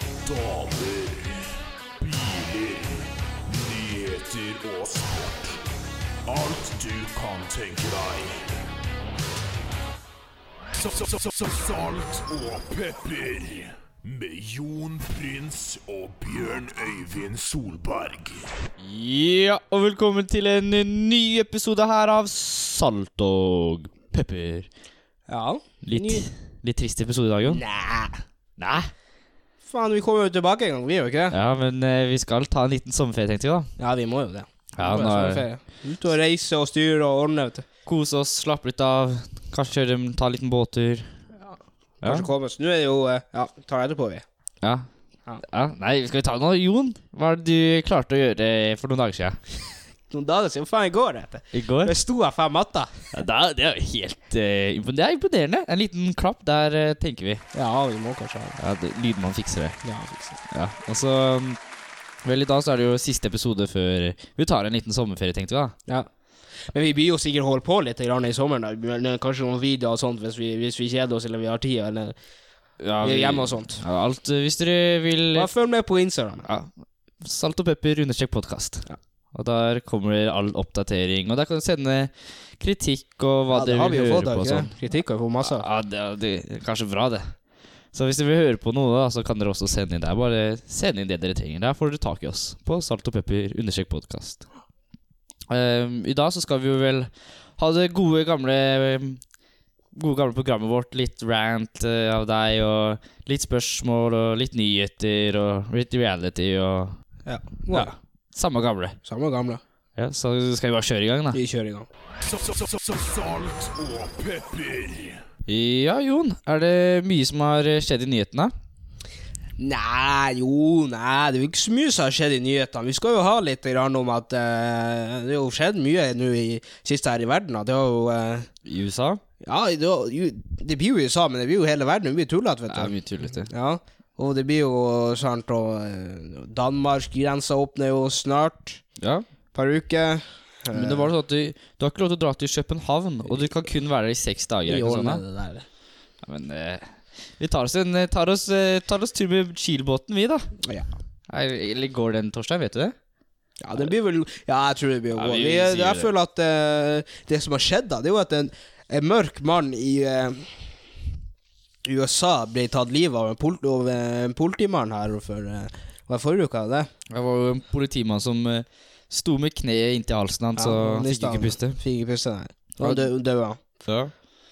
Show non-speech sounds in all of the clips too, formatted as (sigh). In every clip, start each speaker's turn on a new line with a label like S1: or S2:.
S1: Damer, biler, nyheter og sport. Alt du kan tenke deg. Sa- sa- sa- sa- Salt og pepper. Med Jon Prins og Bjørn Øyvind Solberg.
S2: Ja, og velkommen til en ny episode her av Salt og pepper.
S3: Ja.
S2: Litt,
S3: Ny.
S2: litt trist episode i dag, Jon.
S3: Næ.
S2: Nei.
S3: Faen, vi kommer jo tilbake en gang, vi gjør jo ikke det?
S2: Ja, men eh, vi skal ta en liten sommerferie, tenkte vi da.
S3: Ja, vi må jo det.
S2: Ja,
S3: Vi
S2: nå
S3: må jo
S2: er-
S3: sommerferie. Ut og reise og styre og ordne, vet du.
S2: Kose oss, slappe litt av. Kanskje kjøre, ta en liten båttur. Ja.
S3: Kanskje komme oss. Nå er det jo eh, Ja, tar etterpå, vi.
S2: Ja.
S3: Ja.
S2: ja. Nei, skal vi ta det nå? Jon, hva er det du klarte å gjøre for noen dager siden?
S3: Noen dager siden. Hva faen i går, dette?
S2: I går?
S3: Det sto jeg fem matter.
S2: Ja, da- det er jo helt eh, impon- Det er imponerende. En liten klapp, der eh, tenker vi.
S3: Ja, vi må kanskje ha det.
S2: Ja, det, Lydmann fikser det.
S3: Ja, fikser.
S2: Ja, og så um, Vel, i dag så er det jo siste episode før Vi tar en liten sommerferie, tenkte vi da.
S3: Ja. Men vi blir jo sikkert holdt på litt grann i sommeren. da. Vi blir- Kanskje noen videoer og sånt hvis vi, hvis vi kjeder oss eller vi har tid. Eller
S2: Ja,
S3: vi er hjemme og sånt.
S2: Ja, alt eh, Hvis dere vil
S3: Bare følg med på Instagram.
S2: ja, Salt og pepper understrek podkast.
S3: Ja.
S2: Og der kommer all oppdatering. Og der kan du sende kritikk og hva
S3: Ja, det
S2: dere
S3: har vi
S2: vil
S3: jo
S2: høre
S3: fått, har
S2: på.
S3: vi
S2: og
S3: ikke
S2: sånn.
S3: det? Kritikk har vi fått masse. av.
S2: Ja, det, det er kanskje bra, det. Så hvis dere vil høre på noe, da, så kan dere også sende inn der. Bare send inn det dere trenger. Der får dere tak i oss på Salt og pepper understrek podkast. I dag så skal vi jo vel ha det gode, gamle ehm, Gode gamle programmet vårt. Litt rant eh, av deg, og litt spørsmål, og litt nyheter, og litt reality, og
S3: Ja.
S2: ja. Samme gamle.
S3: Samme gamle.
S2: Ja, så skal vi bare kjøre i gang, da.
S3: Vi kjører i gang.
S1: Sa- sa- sa- sa- Salt og pepper.
S2: Ja, Jon. Er det mye som har skjedd i nyhetene?
S3: Nei, jo, nei, det er jo ikke så mye som har skjedd i nyhetene. Vi skal jo ha litt grann om at eh, det har jo skjedd mye nå i siste her i verden. At det har jo eh,
S2: I USA?
S3: Ja, det, har jo, det blir jo USA, men det blir jo hele verden. Det blir
S2: Det
S3: tullete,
S2: er
S3: vet du.
S2: mye tullete.
S3: Ja, og det blir jo sant, og eh, Danmark-grensa åpner jo snart.
S2: Ja.
S3: Et par uker.
S2: Men det var sånn at du, du har ikke lov til å dra til København, og du kan kun være der i seks dager.
S3: I
S2: Ikke
S3: år
S2: sånn,
S3: med
S2: da?
S3: det der.
S2: ja, men eh, vi tar oss en eh, tar oss, eh, tar oss tur med Kiel-båten, vi, da.
S3: Ja.
S2: Eller eller går den torsdag, vet du det?
S3: Ja, det blir vel Ja, jeg tror det
S2: Ja,
S3: blir vår.
S2: vi
S3: Vi,
S2: sier
S3: jeg
S2: det.
S3: føler at eh, det som har skjedd, da, det er jo at en, en mørk mann i eh, USA ble tatt livet av en, pol av en politimann her for eh, Hva er forrige uka? det?
S2: Det var jo en politimann som eh, sto med kneet inntil halsen hans, så
S3: Ja,
S2: han fikk
S3: mistet
S2: ikke puste.
S3: Fikk ikke puste, nei. Og dø, døde han.
S2: Ja.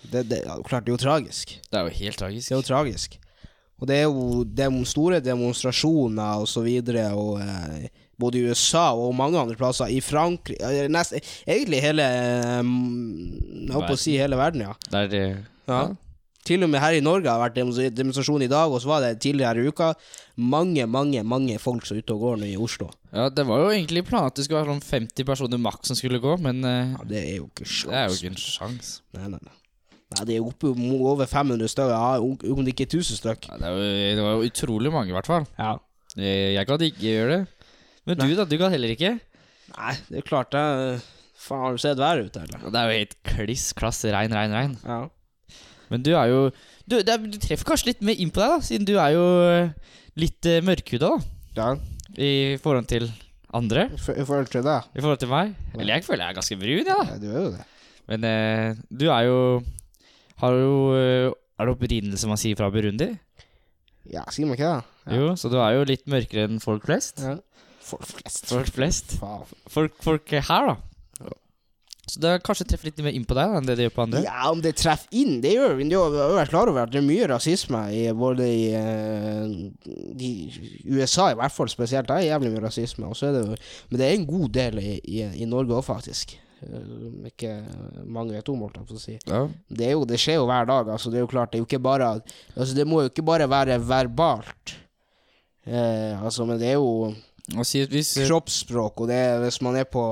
S3: Det, det, ja, klart, det er jo tragisk.
S2: Det er jo helt
S3: Det er
S2: tragisk.
S3: jo tragisk. Og det er jo dem- store demonstrasjoner og så videre, og eh, både i USA og mange andre plasser. I Frankrike eh, nest, Egentlig hele eh, Jeg holdt på å si hele verden, ja.
S2: Det er eh,
S3: ja. Til og med her i Norge har det vært demo- demonstrasjon i dag, og så var det tidligere i uka. Mange, mange mange folk som er ute og går nå i Oslo.
S2: ja, det var jo egentlig planen at det skulle være sånn 50 personer maks som skulle gå, men eh,
S3: Ja, det er jo ikke sjans.
S2: det er jo ikke en sjanse.
S3: Nei, nei, nei. Nei, det er oppe mo- over 500 stykker, ja, om det ikke er 1000 stykker.
S2: Ja, det, er jo- det var jo utrolig mange, i hvert fall.
S3: Ja.
S2: Eh, Jeg kan ikke gjøre det. Men du, da? Du kan heller ikke?
S3: Nei, det er klart det. Faen, har du sett været ute, eller?
S2: Og Det er jo helt kliss klass regn, regn, regn.
S3: Ja.
S2: Men du er jo Du, det er, du treffer kanskje litt mer inn på deg, da, siden du er jo eh, litt uh, mørkhuda, da,
S3: ja.
S2: i forhold til andre.
S3: I for- i forhold til deg.
S2: I forhold til meg. Eller jeg føler jeg er ganske brun, jeg, ja,
S3: Ja, du er jo det.
S2: da. Men eh, du er jo Har jo eh, Er det opprinnelse man sier fra Burundi?
S3: Ja, sier man ikke det?
S2: Jo, så du er jo litt mørkere enn folk flest.
S3: Ja. Folk flest.
S2: Folk flest.
S3: Faen.
S2: Folk, folk her, da. Så det er kanskje treffer litt mer inn på deg da, enn det det gjør på andre.
S3: Ja, om det treffer inn, det gjør vi. Du har vært klar over at det er mye rasisme i både i eh, de, USA, i hvert fall spesielt. Det er jævlig mye rasisme. Og så er det jo, men det er en god del i, i, i Norge òg, faktisk. Eh, Ikke mange vet om, holdt jeg på å si.
S2: Ja.
S3: Det, er jo, det skjer jo hver dag. Altså, det er jo klart, det er jo ikke bare altså, Det må jo ikke bare være verbalt. Eh, altså, men det er jo
S2: Og si, hvis, eh,
S3: kroppsspråk, og det er hvis man er på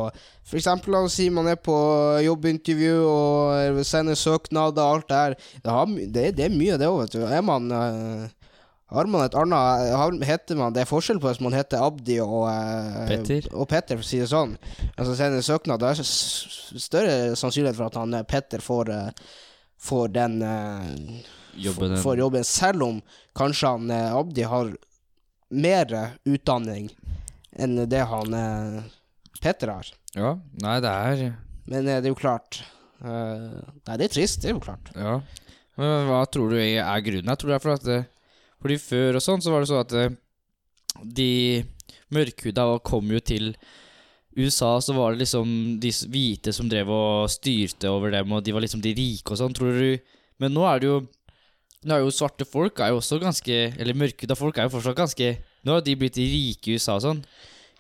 S3: For eksempel, la oss si man er på jobbintervju og sender søknader og alt det her. Det, har, my- det, det er mye, det òg, vet du. Er man eh, Har man et annet har, Heter man Det er forskjell på hvis man heter Abdi og eh,
S2: Petter.
S3: Og Petter, for å si det sånn. Altså sender søknad, det er s- større sannsynlighet for at han eh, Petter får eh, Får den eh,
S2: Jobben
S3: f- får jobben, selv om kanskje han eh, Abdi har mer utdanning enn det han eh, Petter har.
S2: Ja. Nei, det er
S3: Men eh, det er jo klart eh, Nei, det er trist, det er jo klart.
S2: Ja. Men hva tror du er grunnen? Jeg tror det er for at eh, Fordi før og sånn, så var det sånn at eh, de mørkhuda kom jo til USA, så var det liksom de s- hvite som drev og styrte over dem, og de var liksom de rike og sånn, tror du Men nå er det jo Nå er jo svarte folk er jo også ganske Eller mørkhuda folk er jo fortsatt ganske Nå har de blitt de rike i USA og sånn.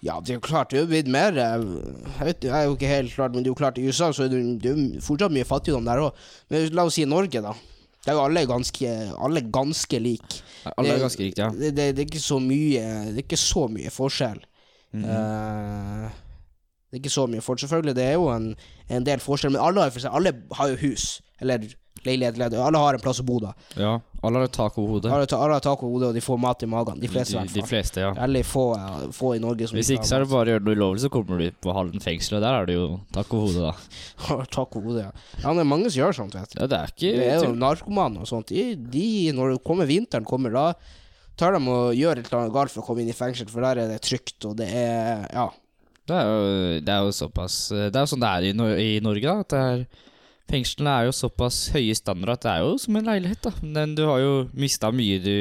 S3: Ja, det er jo klart, det er jo blitt mer eh, Jeg vet jeg er jo ikke helt klart, men det er jo klart, i USA så er det, det er jo fortsatt mye fattigdom der òg. Men la oss si Norge, da. Det er jo alle ganske, alle ganske like.
S2: Alle
S3: Eh,
S2: er ganske rike, ja.
S3: Det, det, det, er ikke så mye, det er ikke så mye forskjell.
S2: Mhm.
S3: Eh, det er ikke så mye forskjell. Selvfølgelig, det er jo en, en del forskjell, men alle har, for eksempel, alle har jo hus. Eller leilighet, leilighet. Alle har en plass å bo, da.
S2: ja. Alle har tak over hodet.
S3: Alle, ta- alle har tak over hodet, og de får mat i magen. De fleste, i
S2: De,
S3: hvert
S2: de
S3: fall.
S2: fleste, ja.
S3: Veldig få, eh, få i Norge som
S2: Hvis ikke så er det bare å gjøre noe ulovlig, så kommer du på Halden fengsel, og der er det jo takk og hodet, da.
S3: har (laughs) tak over hodet. Ja. ja, det er mange som gjør sånt, vet du.
S2: Ja, det er ikke
S3: Det er jo narkomane og sånt. De, de, når det kommer vinteren kommer, da tar de og gjør et eller annet galt for å komme inn i fengsel, for der er det trygt, og det er Ja.
S2: Det er jo, det er jo såpass Det er jo sånn det er i, Nor- i Norge, da. At det er, fengslene er jo såpass høye standarder at det er jo som en leilighet, da. Men du har jo mista mye du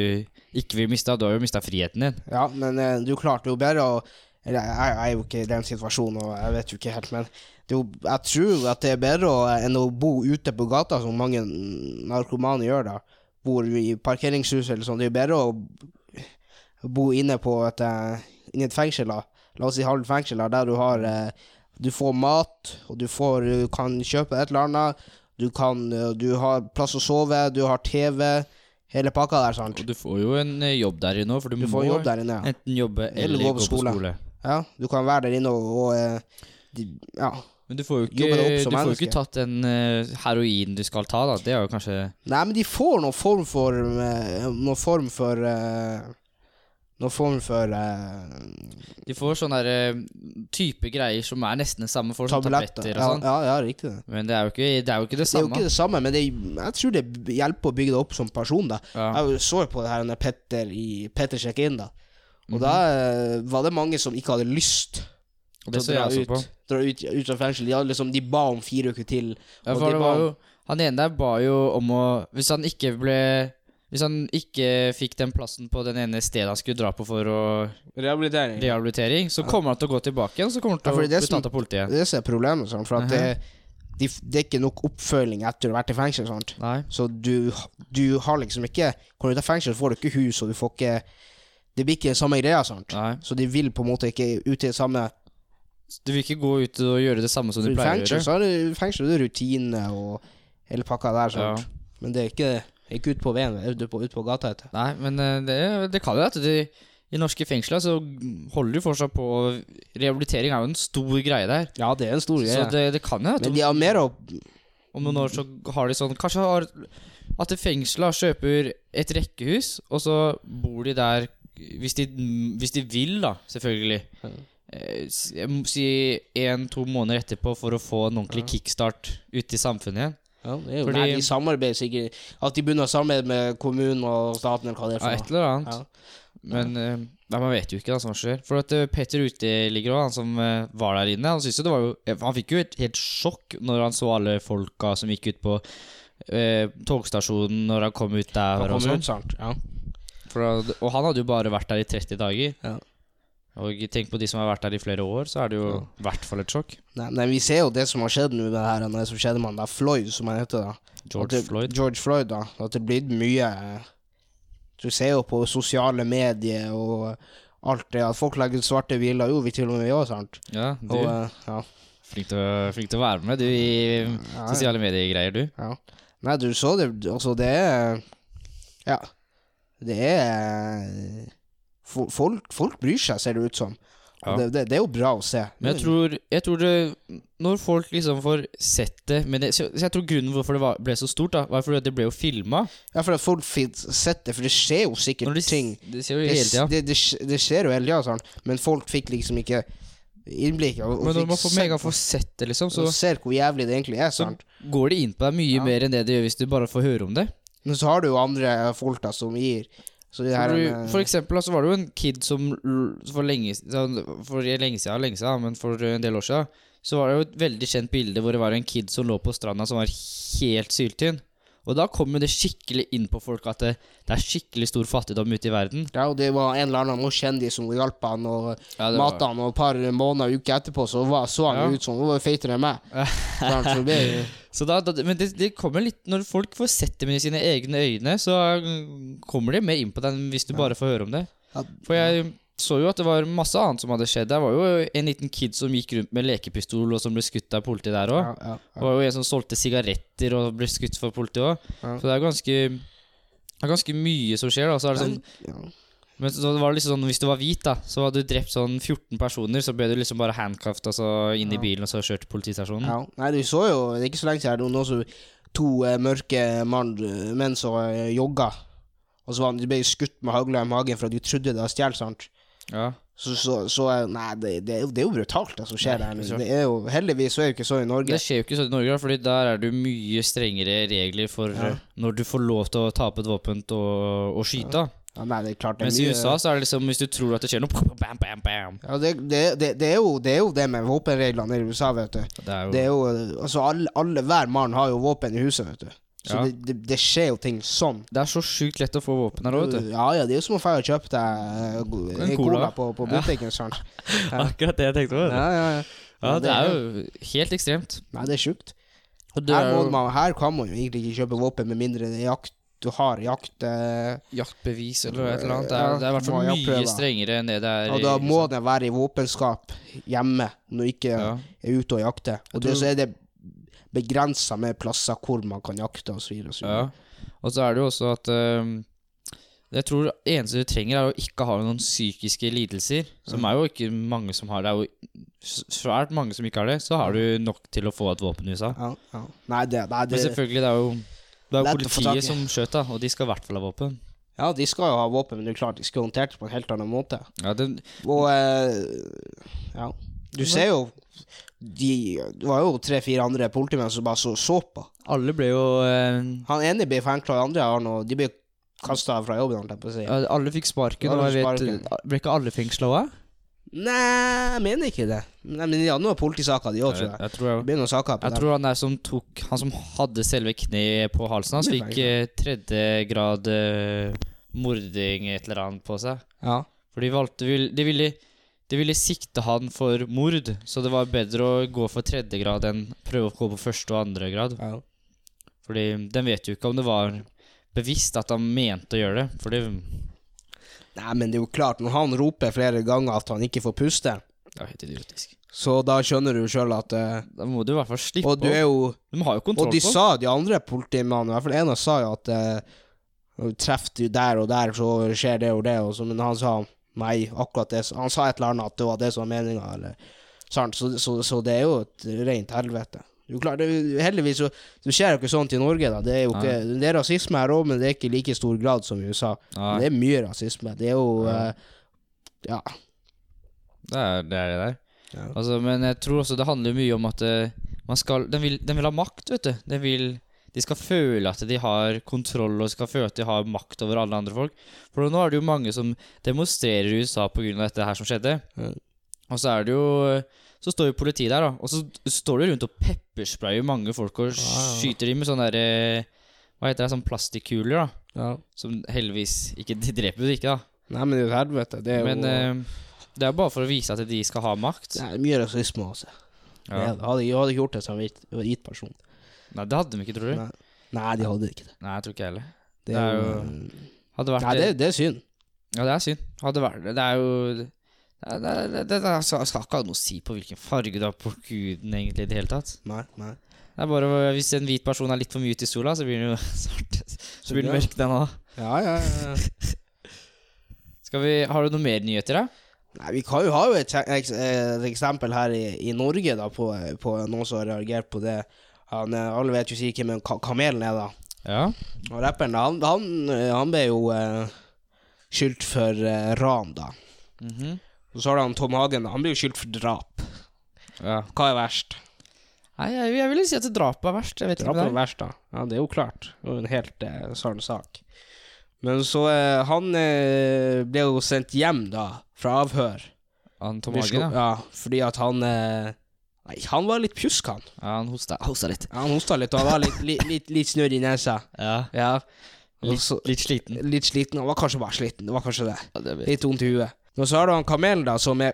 S2: ikke vil miste. Du har jo mista friheten din.
S3: Ja, men eh, du klarte jo bedre å Eller jeg, jeg er jo ikke i den situasjonen, og jeg vet jo ikke helt, men det er jo, jeg tror at det er bedre å, enn å bo ute på gata, som mange narkomane gjør, da. Bor i parkeringshus eller sånn. Det er jo bedre å bo inne på et, eh, inne i et fengsel, da. La oss si halvt fengsel, da, der du har eh, Du får mat, og du, får, du kan kjøpe et eller annet. Du, kan, eh, du har plass å sove, du har TV. Hele pakka der, sant.
S2: Og du får jo en eh, jobb der inne òg, for du,
S3: Du
S2: må
S3: får jobb der inne, ja.
S2: enten jobbe eller, gå på, skole.
S3: Ja, du kan være der inne og, og eh, de, Ja.
S2: Men du får jo ikke,
S3: Jobbe deg opp
S2: du
S3: som
S2: får jo
S3: menneske.
S2: ikke tatt den eh, heroin du skal ta, da. Det er jo kanskje
S3: Nei, men de får noen form for eh, Noen form for eh, Noen form for eh,
S2: De får sånne der, eh, type greier som er nesten det samme. Får sånne
S3: tabletter.
S2: tabletter og
S3: Ja,
S2: sånn.
S3: ja, ja, riktig det.
S2: Men det er jo ikke det, er jo ikke det
S3: Det er jo
S2: samme.
S3: ikke det samme, men det, jeg tror det hjelper å bygge deg opp som person. da
S2: Ja.
S3: Jeg så jo på det her med Petter i Petter Sjekk Inn, da.
S2: Mhm.
S3: Og da eh, var det mange som ikke hadde lyst
S2: Og
S3: til
S2: det
S3: å
S2: ser jeg
S3: dra
S2: også
S3: ut,
S2: på.
S3: dra ut, ut av fengsel. De, hadde liksom, de ba om fire uker til.
S2: Ja,
S3: og
S2: for
S3: de
S2: det
S3: ba
S2: var
S3: om-
S2: jo, han ene der ba jo om å Hvis han ikke ble Hvis han ikke fikk den plassen på den ene stedet han skulle dra på for å
S3: Rehabilitering.
S2: rehabilitering, så kommer han til å gå tilbake igjen, så kommer han
S3: Ja,
S2: til
S3: fordi
S2: å bli
S3: det som-
S2: tatt av politiet.
S3: Det er det som er problemet, sånn, for at det, de, det er ikke nok oppfølging etter å ha vært i fengsel. Sant?
S2: Nei.
S3: Så du, du har liksom ikke Kommer du ut av fengsel, får du ikke hus, og du får ikke Det blir ikke samme greia, sant?
S2: Nei.
S3: Så de vil på en måte ikke ut i det samme
S2: Du vil ikke gå ut og gjøre det samme som
S3: For
S2: du
S3: I
S2: pleier å
S3: fengsel
S2: gjøre.
S3: så er det, fengsel, det er rutine og hele pakka der, sant?
S2: Ja.
S3: Men det er ikke, ikke ut på veien, det er ute på, ut på gata. Vet du.
S2: Nei, men eh, det, det kan jo at de, i norske fengsler så holder de fortsatt på Rehabilitering er jo en stor greie der.
S3: Ja, det er en stor
S2: Så
S3: greie.
S2: det, det kan jo at
S3: Men
S2: om
S3: de har mer å
S2: Om noen år så har de sånn Kanskje har at fengsla kjøper et rekkehus, og så bor de der hvis de, hvis de vil, da, selvfølgelig. Eh, s- Jeg må si én-to måneder etterpå for å få en ordentlig kickstart ute i samfunnet igjen.
S3: ja, det er jo,
S2: Fordi-
S3: Nei, de samarbeider sikkert. At de begynner å samarbeide med kommunen og staten, eller hva det er
S2: Ja,
S3: for
S2: et
S3: noe.
S2: eller annet.
S3: Altså, Ja.
S2: Men eh, nei, man vet jo ikke da, hva som skjer. For at eh, Petter uteligger òg, han som eh, var der inne, han syntes jo det var jo eh, Han fikk jo et helt sjokk når han så alle folka som gikk ut på eh, togstasjonen når han kom ut der.
S3: Han
S2: og sånn.
S3: kommer ut, sant? Ja.
S2: For, da- og han hadde jo bare vært der i 30 dager.
S3: Ja.
S2: Og tenk på de som har vært der i flere år, så er det jo i hvert fall et sjokk.
S3: Nei, nei, vi ser jo det som har skjedd nå med det her, det som skjedde med han da, Floyd, som han heter da. At
S2: George
S3: det,
S2: Floyd.
S3: George Floyd, da. At det blir mye eh, Du ser jo på sosiale medier og alt det, at folk legger ut svarte biler, jo, vi til og med gjør sant?
S2: Ja, du
S3: Og, eh, ja,
S2: flink til, å, flink til å være med, du, i
S3: ja,
S2: sosiale medier-greier, du.
S3: ja. Nei, du så det, altså, det er Ja. Det er eh, fo- folk, folk bryr seg, ser det ut som. Og
S2: Ja.
S3: Det, det, det er jo bra å se.
S2: Men jeg tror, jeg tror det Når folk liksom får sett det, men det så, så jeg tror grunnen hvorfor det var, ble så stort, da, var fordi at det ble jo filma.
S3: Ja, for at folk fikk sett det, for det skjer jo
S2: Når
S3: sikkert
S2: de,
S3: ting.
S2: s- de ser jo
S3: Det,
S2: hele tida.
S3: det, det, sk- det skjer jo hele tida, sånn. men folk fikk liksom ikke innblikk. Og, og
S2: Men når
S3: fikk
S2: man får
S3: sett-
S2: mega får sett det, liksom, så,
S3: og ser hvor jævlig det egentlig er.
S2: så
S3: Sant?
S2: går det inn på deg mye
S3: Ja.
S2: mer enn det det gjør hvis du bare får høre om det.
S3: Men så har du jo andre folk da som gir Så de her
S2: For,
S3: eh,
S2: du, for eksempel da, så var det jo en kid som l- for lenge, s- sånn, for lenge siden, lenge siden, men for en del år siden, så var det jo et veldig kjent bilde hvor det var en kid som lå på stranda som var helt syltynn. Og da kom jo det skikkelig inn på folk at det, det er skikkelig stor fattigdom ute i verden.
S3: Ja, og det var en eller annen norsk kjendis som hjalp han og
S2: Ja, det var-
S3: matet han, og et par måneder og uker etterpå så var, så han
S2: Ja.
S3: jo ut som han var feitere
S2: (laughs)
S3: enn meg. Sånn, så det,
S2: Så da, da, men det, det kommer litt Når folk får sett dem i sine egne øyne, så mm, kommer de mer inn på den hvis du bare får høre om det.
S3: Ja.
S2: For jeg så jo at det var masse annet som hadde skjedd. Det var jo en liten kid som gikk rundt med lekepistol, og som ble skutt av politiet der òg.
S3: ja, ja,
S2: Det var jo en som solgte sigaretter og ble skutt for politiet òg.
S3: Ja.
S2: Så det er ganske det er ganske mye som skjer, da. Så er det sånn,
S3: ja.
S2: men så var det liksom sånn, hvis du var hvit, da, så hadde du drept sånn 14 personer, så ble du liksom bare handcuffed altså, inn i bilen og så kjørt til politistasjonen.
S3: Ja. Nei, du så jo Det er ikke så lenge siden det var noen som to eh, mørke mann, eh, menn som eh, jogga. Og så var han, de ble skutt med hagla i magen for at de trodde det var stjålet, sant.
S2: Ja.
S3: Så, så, så eh, Nei, det, det, er jo- det er jo brutalt, det som skjer
S2: Nei,
S3: der.
S2: ikke sant.
S3: nå. Det er jo, heldigvis så er det jo ikke så i
S2: Det
S3: Norge.
S2: skjer jo ikke sånn i Norge, da, Fordi der er det jo mye strengere regler for eh, når du får lov til å ta opp et våpen til å, å skyte. da.
S3: Ja, nei, det er klart det er
S2: Mens i
S3: mye-
S2: USA så er det liksom hvis du tror at det skjer noe (laughs) bam, bam, bam.
S3: Ja, det, det, det, det, er jo, det er jo det med våpenreglene i USA, vet du.
S2: Det er jo,
S3: Det er jo, altså alle, alle Hver mann har jo våpen i huset, vet du. Så
S2: Ja.
S3: det, det, det skjer jo ting sånn.
S2: det er så sjukt lett å få våpen her òg, vet du.
S3: Ja, ja, det er jo som å dra og kjøpe deg eh,
S2: En
S3: cola.
S2: cola.
S3: på, på butikken. sant?
S2: Akkurat det jeg tenkte på.
S3: Ja, ja, ja.
S2: Ja, det er jo helt ekstremt.
S3: Nei, det er sjukt.
S2: Og det
S3: Her,
S2: er
S3: må
S2: jo
S3: man, her kan man jo egentlig ikke kjøpe våpen med mindre det er jakt. Du har jakt, eh,
S2: jaktbevis eller et eller annet. Det er,
S3: Ja,
S2: det er i hvert
S3: må
S2: fall
S3: jeg prøve.
S2: mye strengere enn det det er
S3: og da må det være i våpenskap hjemme når du ikke
S2: Ja.
S3: er ute og jakter. Og det,
S2: tror-
S3: så er det begrensa med plasser hvor man kan jakte osv.
S2: Ja. Og så er det jo også at øhm, Jeg tror det eneste du trenger, er å ikke ha noen psykiske lidelser. Som er jo ikke mange som har det. Det er jo svært mange som ikke har det. Så har du nok til å få et våpen i USA.
S3: Ja, ja. Nei, det, nei,
S2: Men
S3: det
S2: selvfølgelig, det er jo det er jo
S3: Lett å få tak i.
S2: politiet som skjøt, da, og de skal i hvert fall ha våpen.
S3: Ja, de skal jo ha våpen, men det er klart de skal håndtere det på en helt annen måte.
S2: Ja, den,
S3: Og eh, ja, du ser jo de, Det var jo tre-fire andre politimenn som bare så, så på.
S2: alle ble jo eh,
S3: Han ene ble fengsla, de andre har nå De ble kasta fra jobben, holdt jeg på å si.
S2: ja, Alle fikk sparken,
S3: Alle
S2: og jeg
S3: fikk
S2: vet Ble ikke alle fengsla òg?
S3: Nei, jeg mener ikke det. Nei, men de hadde noen politisaker, de òg, tror jeg.
S2: Jeg tror jeg
S3: Det blir noen saker på
S2: Jeg
S3: dem.
S2: tror han der som tok Han som hadde selve kneet på halsen hans,
S3: Det
S2: fikk eh, tredje grad eh, mording et eller annet på seg.
S3: Ja.
S2: For de valgte vil- De ville de ville sikte han for mord, så det var bedre å gå for tredje grad enn prøve å gå på første og andre grad.
S3: Ja.
S2: Fordi den vet jo ikke om det var bevisst at han mente å gjøre det. Fordi
S3: Nei, men det er jo klart, når han roper flere ganger at han ikke får puste,
S2: Det er helt idiotisk.
S3: så da skjønner du sjøl at eh,
S2: Da må du i hvert fall slippe
S3: Og du er
S2: opp.
S3: jo
S2: De har jo
S3: Og
S2: kontroll
S3: de
S2: på
S3: sa, de andre politimannene, i hvert fall ene sa jo at eh, Treff du der og der, så skjer det og det, og så, men han sa nei, akkurat det Han sa et eller annet at det var det som var meninga, eller sant? Så, så, så det er jo et rent helvete. Du klarer, det, heldigvis så, så skjer det ikke sånt i Norge, da. Det er jo ikke, det er rasisme her òg, men det er ikke i like stor grad som i USA.
S2: Nei.
S3: Det er mye rasisme. Det er jo
S2: Ja.
S3: eh, Ja.
S2: Det er det er det der.
S3: Ja.
S2: Altså, men jeg tror også det handler mye om at eh, man skal den vil, den vil ha makt, vet du. Den vil, de skal føle at de har kontroll og skal føle at de har makt over alle andre folk. For nå er det jo mange som demonstrerer i USA pga. dette her som skjedde.
S3: Ja.
S2: Og så er det jo eh, Så står jo politiet der, da. Og så står de rundt og peppersprayer mange folk og skyter dem med sånne derre Hva heter det? Sånn plastikkuler, da. Som heldigvis ikke De dreper jo ikke, da.
S3: Nei, men det er jo et helvete. Det er jo
S2: Men eh, det er bare for å vise at de skal ha makt.
S3: det er mye rasisme, altså.
S2: Ja.
S3: Jeg hadde jeg hadde ikke gjort det som en hvit- hvit person.
S2: Nei, det hadde de ikke, tror du? Nei,
S3: Nei. Nei, de hadde ikke det.
S2: jeg tror ikke jeg heller.
S3: Det
S2: Det
S3: er
S2: er
S3: jo mm.
S2: Hadde vært
S3: Nei, det, det er synd.
S2: Ja, det er synd. Hadde vært det. Det er jo det, er- det, er- det, er- det, er- skal skal ikke ha noe å si på hvilken farge du har på huden, egentlig, i det hele tatt.
S3: Nei, nei.
S2: Det er bare å- Hvis en hvit person er litt for mye ute i sola, så blir den jo (laughs) svart. Så blir den
S3: Ja.
S2: mørk, den òg.
S3: Ja, ja, ja.
S2: Skal vi Har du noe mer nyheter, da?
S3: Nei, vi kan jo ha jo et, ek- eh, et eksempel her i, i Norge da, på, på noen som har reagert på det. Han, eh, alle vet jo sikkert hvem Ka- Kamelen er, da.
S2: Ja.
S3: Og rapperen, han, han, eh, han ble jo eh, skyldt for eh, ran, da.
S2: Mhm.
S3: Og så har du han Tom Hagen, da. han blir jo skyldt for drap.
S2: ja.
S3: Hva er verst?
S2: Nei, jeg, jeg ville si at drapet er verst. Jeg vet ikke
S3: Drap
S2: om det
S3: er
S2: er.
S3: verst, da. Ja, det er jo klart. Det er jo en helt eh, sånn sak. Men så eh, Han eh, ble jo sendt hjem, da, fra avhør.
S2: Han Tom
S3: Biskop-
S2: Hagen, ja.
S3: ja, fordi at han eh, Nei, han var litt pjusk, han.
S2: ja. Han hosta, hosta litt.
S3: Han hosta litt, og han var litt, litt, litt, litt snørr i nesa.
S2: Ja.
S3: Ja. Og
S2: Litt,
S3: så-
S2: litt sliten.
S3: litt sliten. Han var kanskje bare sliten. Det var kanskje det.
S2: Ja, det blir.
S3: Litt vondt i huet. Og så har du han Kamelen, da, som er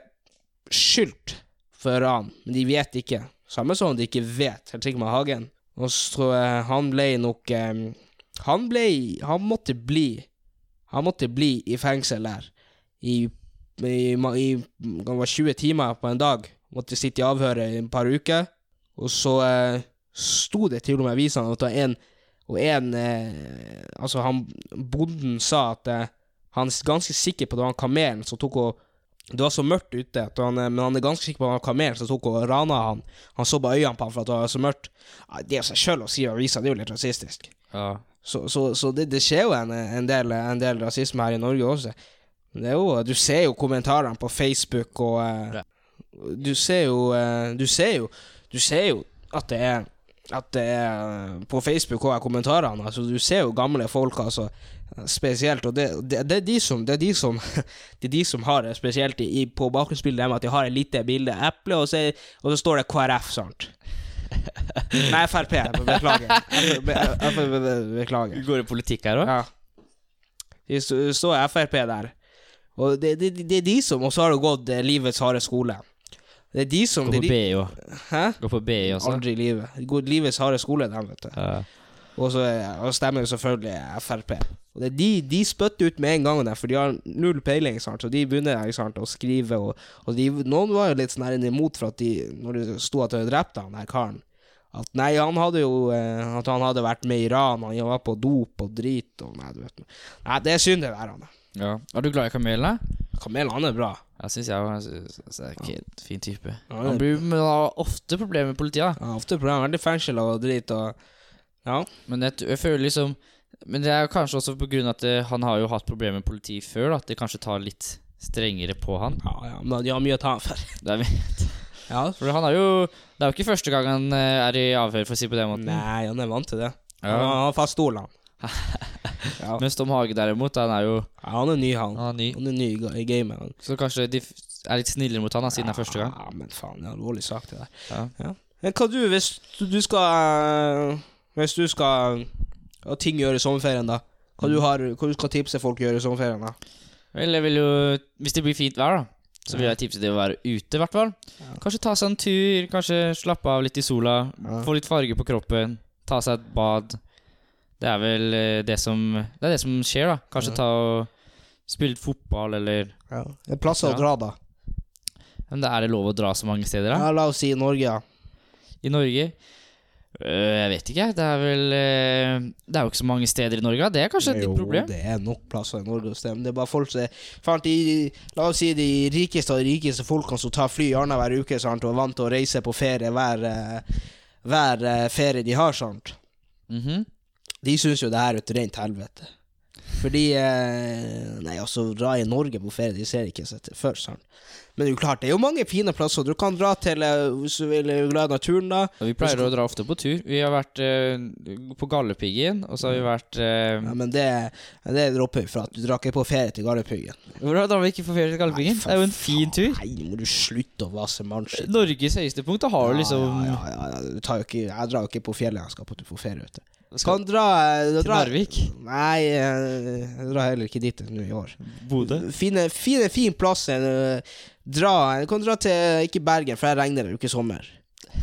S3: skyldt for ran, men de vet ikke. Samme som de ikke vet, helt sikkert med Hagen. Og så tror jeg han ble nok eh, Han ble Han måtte bli Han måtte bli i fengsel der i, i, ma- i det var 20 timer på en dag. Måtte sitte i avhøret i et par uker. Og så eh, sto det til og med i avisene at det var en Og en eh, Altså, han bonden sa at eh, han er ganske sikker på at det var en kamelen som tok og Det var så mørkt ute, at han, eh, men han er ganske sikker på at det var en kamelen som tok og rana han. Han så bare øynene på han for at det var så mørkt. Ja, Det er seg sjøl å si i avisa, det er jo litt rasistisk.
S2: Ja.
S3: Så, så, så det, det skjer jo en, en, del, en del rasisme her i Norge også. Det er jo, du ser jo kommentarene på Facebook og eh,
S2: Ja.
S3: Du ser jo eh, Du ser jo Du ser jo at det er at det er eh, På Facebook og i kommentarene altså, Du ser jo gamle folk, altså. Spesielt. Og det, det, det er de som Det er de som, (laughs) det er de som har det spesielt i, i- på bakgrunnsbildet, dem at de har et lite bilde av eplet, og, så er- og så står det KrF, sant? Nei, Frp. Beklager. Be- be- be- be- Beklager.
S2: Går det politikk her òg?
S3: Ja. Det st- står Frp der. Og det, det, det er de som Og så har det gått eh, livets harde skole. Det er de som
S2: Går
S3: det
S2: på E, altså.
S3: er
S2: BI
S3: de,
S2: òg.
S3: Hæ?
S2: Går på E BI også.
S3: Aldri i livet. Det går livets harde skole, dem, vet du.
S2: Ja.
S3: Og så eh, og stemmer jo selvfølgelig Frp. Og det er de, de spytter ut med en gang, der, for de har null peiling, ikke sant? så de begynner ikke sant, å skrive. Og, og de, noen var jo litt sånn her imot for at de, når det sto at de hadde drept han der karen At nei, han hadde jo eh, At han hadde vært med i Iran, han var på dop og drit og Nei, du vet Nei, det er synd, det der. han
S2: Ja. Er du glad i kamelene?
S3: Kamelen, han er bra.
S2: Jeg syns jeg var jeg synes jeg er ikke en fin type.
S3: Ja,
S2: Han blir men han har ofte problemer med politiet. da.
S3: Han har ofte problemer. Veldig fengsel og drit og Ja.
S2: Men jeg, t- jeg føler liksom Men det er jo kanskje også på grunn av at eh, han har jo hatt problemer med politiet før, da, at det kanskje tar litt strengere på han.
S3: Ja, ja, men de har mye å ta for.
S2: Det (laughs) er,
S3: Ja.
S2: for han er jo Det er jo ikke første gang han eh, er i avhør, for å si det på den måten.
S3: Nei, han er vant til det.
S2: Ja.
S3: Han har fast stol, han. Ja.
S2: Mens Tom Hage derimot, han er jo
S3: Ja, han er ny, han.
S2: han er ny,
S3: Han er ny i ga- i gamet. han.
S2: så kanskje de f- er litt snillere mot han da, siden det er første gang.
S3: Ja, men faen, det er alvorlig sak, det der.
S2: Ja.
S3: Men hva du, hvis du- du skal eh, Hvis du skal ha ting å gjøre i sommerferien, da? Hva
S2: Mm.
S3: du, har, hva du skal tipse folk å gjøre i sommerferien? da?
S2: Vel, jeg vil jo Hvis det blir fint vær, da, så vil jeg tipse deg å være ute, i hvert fall. Kanskje ta seg en tur, kanskje slappe av litt i sola,
S3: Ja.
S2: få litt farge på kroppen, ta seg et bad. Det er vel eh, det som Det er det som skjer, da. Kanskje ta og spille litt fotball, eller
S3: Ja. Det er plasser
S2: Ja.
S3: å dra, da.
S2: Men det er det lov å dra så mange steder, da?
S3: Ja, la oss si i Norge, ja.
S2: I Norge? Øh, jeg vet ikke. Det er vel eh, Det er jo ikke så mange steder i Norge, da. Det er kanskje et
S3: Jo,
S2: ditt problem?
S3: Det er nok plasser i Norge å stemme. Det er bare folk som er faen, de, La oss si de rikeste av de rikeste folkene som tar fly annenhver uke sant, og er vant til å reise på ferie hver, eh, hver eh, ferie de har. Sant.
S2: Mhm.
S3: De syns jo det her er et rent helvete. Fordi eh, Nei, altså, dra i Norge på ferie, de ser ikke seg til før, sant. Men det er jo klart, det er jo mange fine plasser. Du kan dra til eh, Hvis du vil er glad i naturen, da.
S2: Og Vi pleier å dra ofte på tur. Vi har vært eh, på Galdhøpiggen, og så har vi vært eh,
S3: Ja, men det, det dropper vi, for at du drar ikke på ferie til Gardepiggen.
S2: Hvordan drar vi ikke på ferie til Galdhøpiggen? Det er jo en fin tur.
S3: Nei, nå må du slutte å vase mannskitt.
S2: Norges høyeste punkt, da har du liksom
S3: ja, ja, ja, ja. Du tar jo ikke, jeg drar jo ikke på fjellet jeg skal på, på ferie. Vet du.
S2: Skal
S3: Kan dra, eh,
S2: til
S3: dra
S2: Narvik.
S3: Nei, eh, jeg drar heller ikke dit nå i år.
S2: Bodø.
S3: Fine, fine, fin plass. eh, Dra Du kan dra til Ikke Bergen, for der regner det jo ikke i sommer.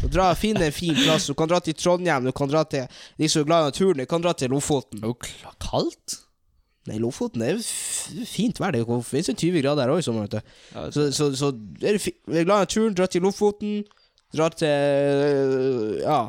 S3: Så dra, Finn en fin plass. Du kan dra til Trondheim, du kan dra til de som er glad i naturen. Du kan dra til Lofoten.
S2: Det er jo kla- kaldt.
S3: Nei, Lofoten det er jo f- fint vær. Det er jo- finnes jo 20 grader her òg i sommer. vet du. Så, så, så er du fi- er du glad i naturen, dra til Lofoten. Dra til øh, Ja,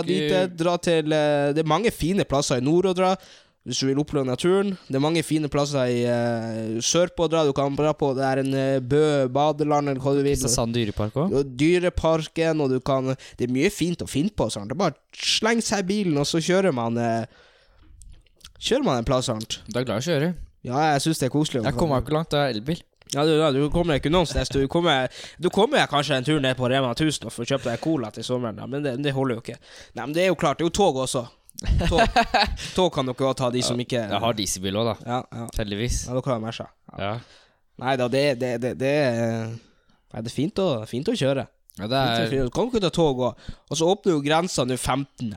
S2: Det er
S3: dit.
S2: ikke-
S3: eh, Dra til eh, Det er mange fine plasser i nord å dra. Hvis du vil oppleve naturen. Det er mange fine plasser i eh, sørpå å dra. Du kan dra på det er en eh, Bø badeland eller hva du vil.
S2: Kristiansand dyrepark òg.
S3: Og Dyreparken, og du kan Det er mye fint å finne på. Sant? Det er bare sleng seg i bilen, og så kjører man eh, Kjører man en plass, sant?
S2: Du er glad i å kjøre.
S3: Ja, jeg syns det er koselig.
S2: Jeg kommer meg ikke langt, det er elbil.
S3: Ja, du, ja, du kommer ikke noen sted. Du kommer, du kommer kanskje en tur ned på Rema 1000 og får kjøpt deg cola til sommeren, da, men det, det holder jo ikke. Nei, men det er jo klart, det er jo tog også. Tog,
S2: (laughs)
S3: tog kan dere òg ta, de som ikke
S2: Jeg har dieselbil òg, da.
S3: Ja, ja.
S2: Heldigvis.
S3: ja dere har Merca. Ja.
S2: Ja.
S3: Nei da, det, det, det, det, er- nei, det er fint å, fint å kjøre.
S2: ja, det
S3: Fint å
S2: er
S3: kjøre. Du kan ikke ta tog òg. Og så åpner jo grensa nå 15.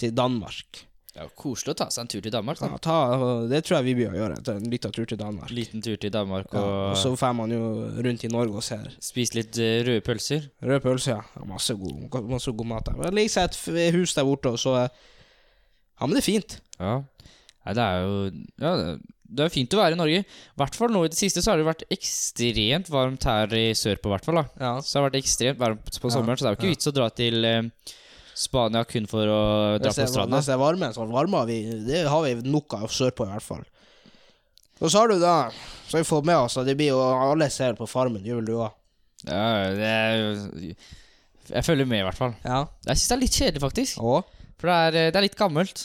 S3: til Danmark.
S2: ja, koselig å ta seg en tur til Danmark.
S3: Ja,
S2: da
S3: ta, det tror jeg vi bør gjøre. Ta en liten tur til Danmark.
S2: Liten tur til Danmark
S3: Ja, og
S2: og
S3: så drar man jo rundt i Norge og ser
S2: spise litt eh, røde pølser.
S3: røde pølser. Ja. Ja, masse, god, masse god mat der. Det ligger seg et f- hus der borte, og så Ja, men det er fint.
S2: Ja. Nei, det er jo ja, det- Det er fint å være i Norge. I hvert fall nå i det siste så har det jo vært ekstremt varmt her i sørpå, i hvert fall. da
S3: Ja.
S2: Så det har vært ekstremt varmt på
S3: Ja,
S2: sommeren, så det er jo ikke vits å dra til eh, Spania kun for å dra
S3: Hvis
S2: på
S3: det,
S2: stranda.
S3: hvis det er varme, så varmer vi Det har vi nok av sørpå, i hvert fall. Og så har du da Så har vi fått med oss at det blir jo Alle ser på Farmen, det gjør vel du òg?
S2: Ja, det er jo Jeg følger med, i hvert fall.
S3: Ja.
S2: Jeg syns det er litt kjedelig, faktisk.
S3: Og?
S2: For det er, eh, det er litt gammelt.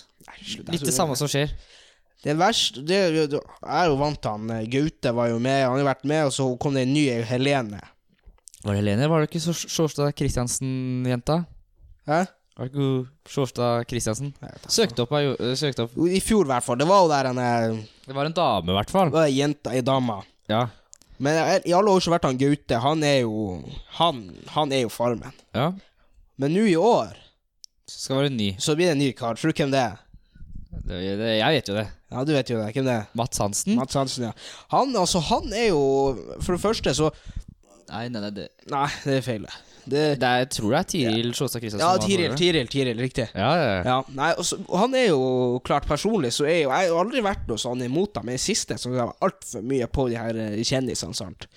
S2: Litt det samme som skjer.
S3: altså, Det verste det, er jo- Jeg er jo vant til han eh, Gaute var jo med, han har jo vært med, og så kom det en ny Helene.
S2: Var det Helene? Var det ikke Sjå- Sjåstad Kristiansen-jenta?
S3: Hæ?
S2: Var det ikke hun Sjåstad Kristiansen?
S3: Jeg vet da.
S2: Søkte opp, jeg, jo- eh, søkte opp
S3: Jo, I fjor, i hvert fall. Det var jo der en eh,
S2: Det var en dame, i hvert fall.
S3: det var ei jente, ei dame.
S2: Ja.
S3: Men jeg- i alle år så har vært han Gaute. Han er jo Han, han er jo Farmen.
S2: ja.
S3: Men nå i år
S2: Så skal være ny.
S3: så blir det en ny kar. Tror du hvem det er?
S2: Det, det, jeg vet jo det.
S3: Ja, du vet jo det. Hvem det er?
S2: Mats Hansen?
S3: Mats Hansen, ja. Han, altså, han er jo For det første, så
S2: Nei, nei, nei, det,
S3: Nei, det er feil. Det,
S2: det er, jeg tror det er Tiril Sjåstad Kristiansen. var
S3: ja, Tiril,
S2: det.
S3: Tiril, Tiril. Riktig.
S2: Ja, ja, ja.
S3: Ja, nei, og så- og Han er jo klart personlig, så er jo, jeg har jo aldri vært noe sånn imot dem. Men i siste så var jeg altfor mye på de her eh, kjendisene. sant?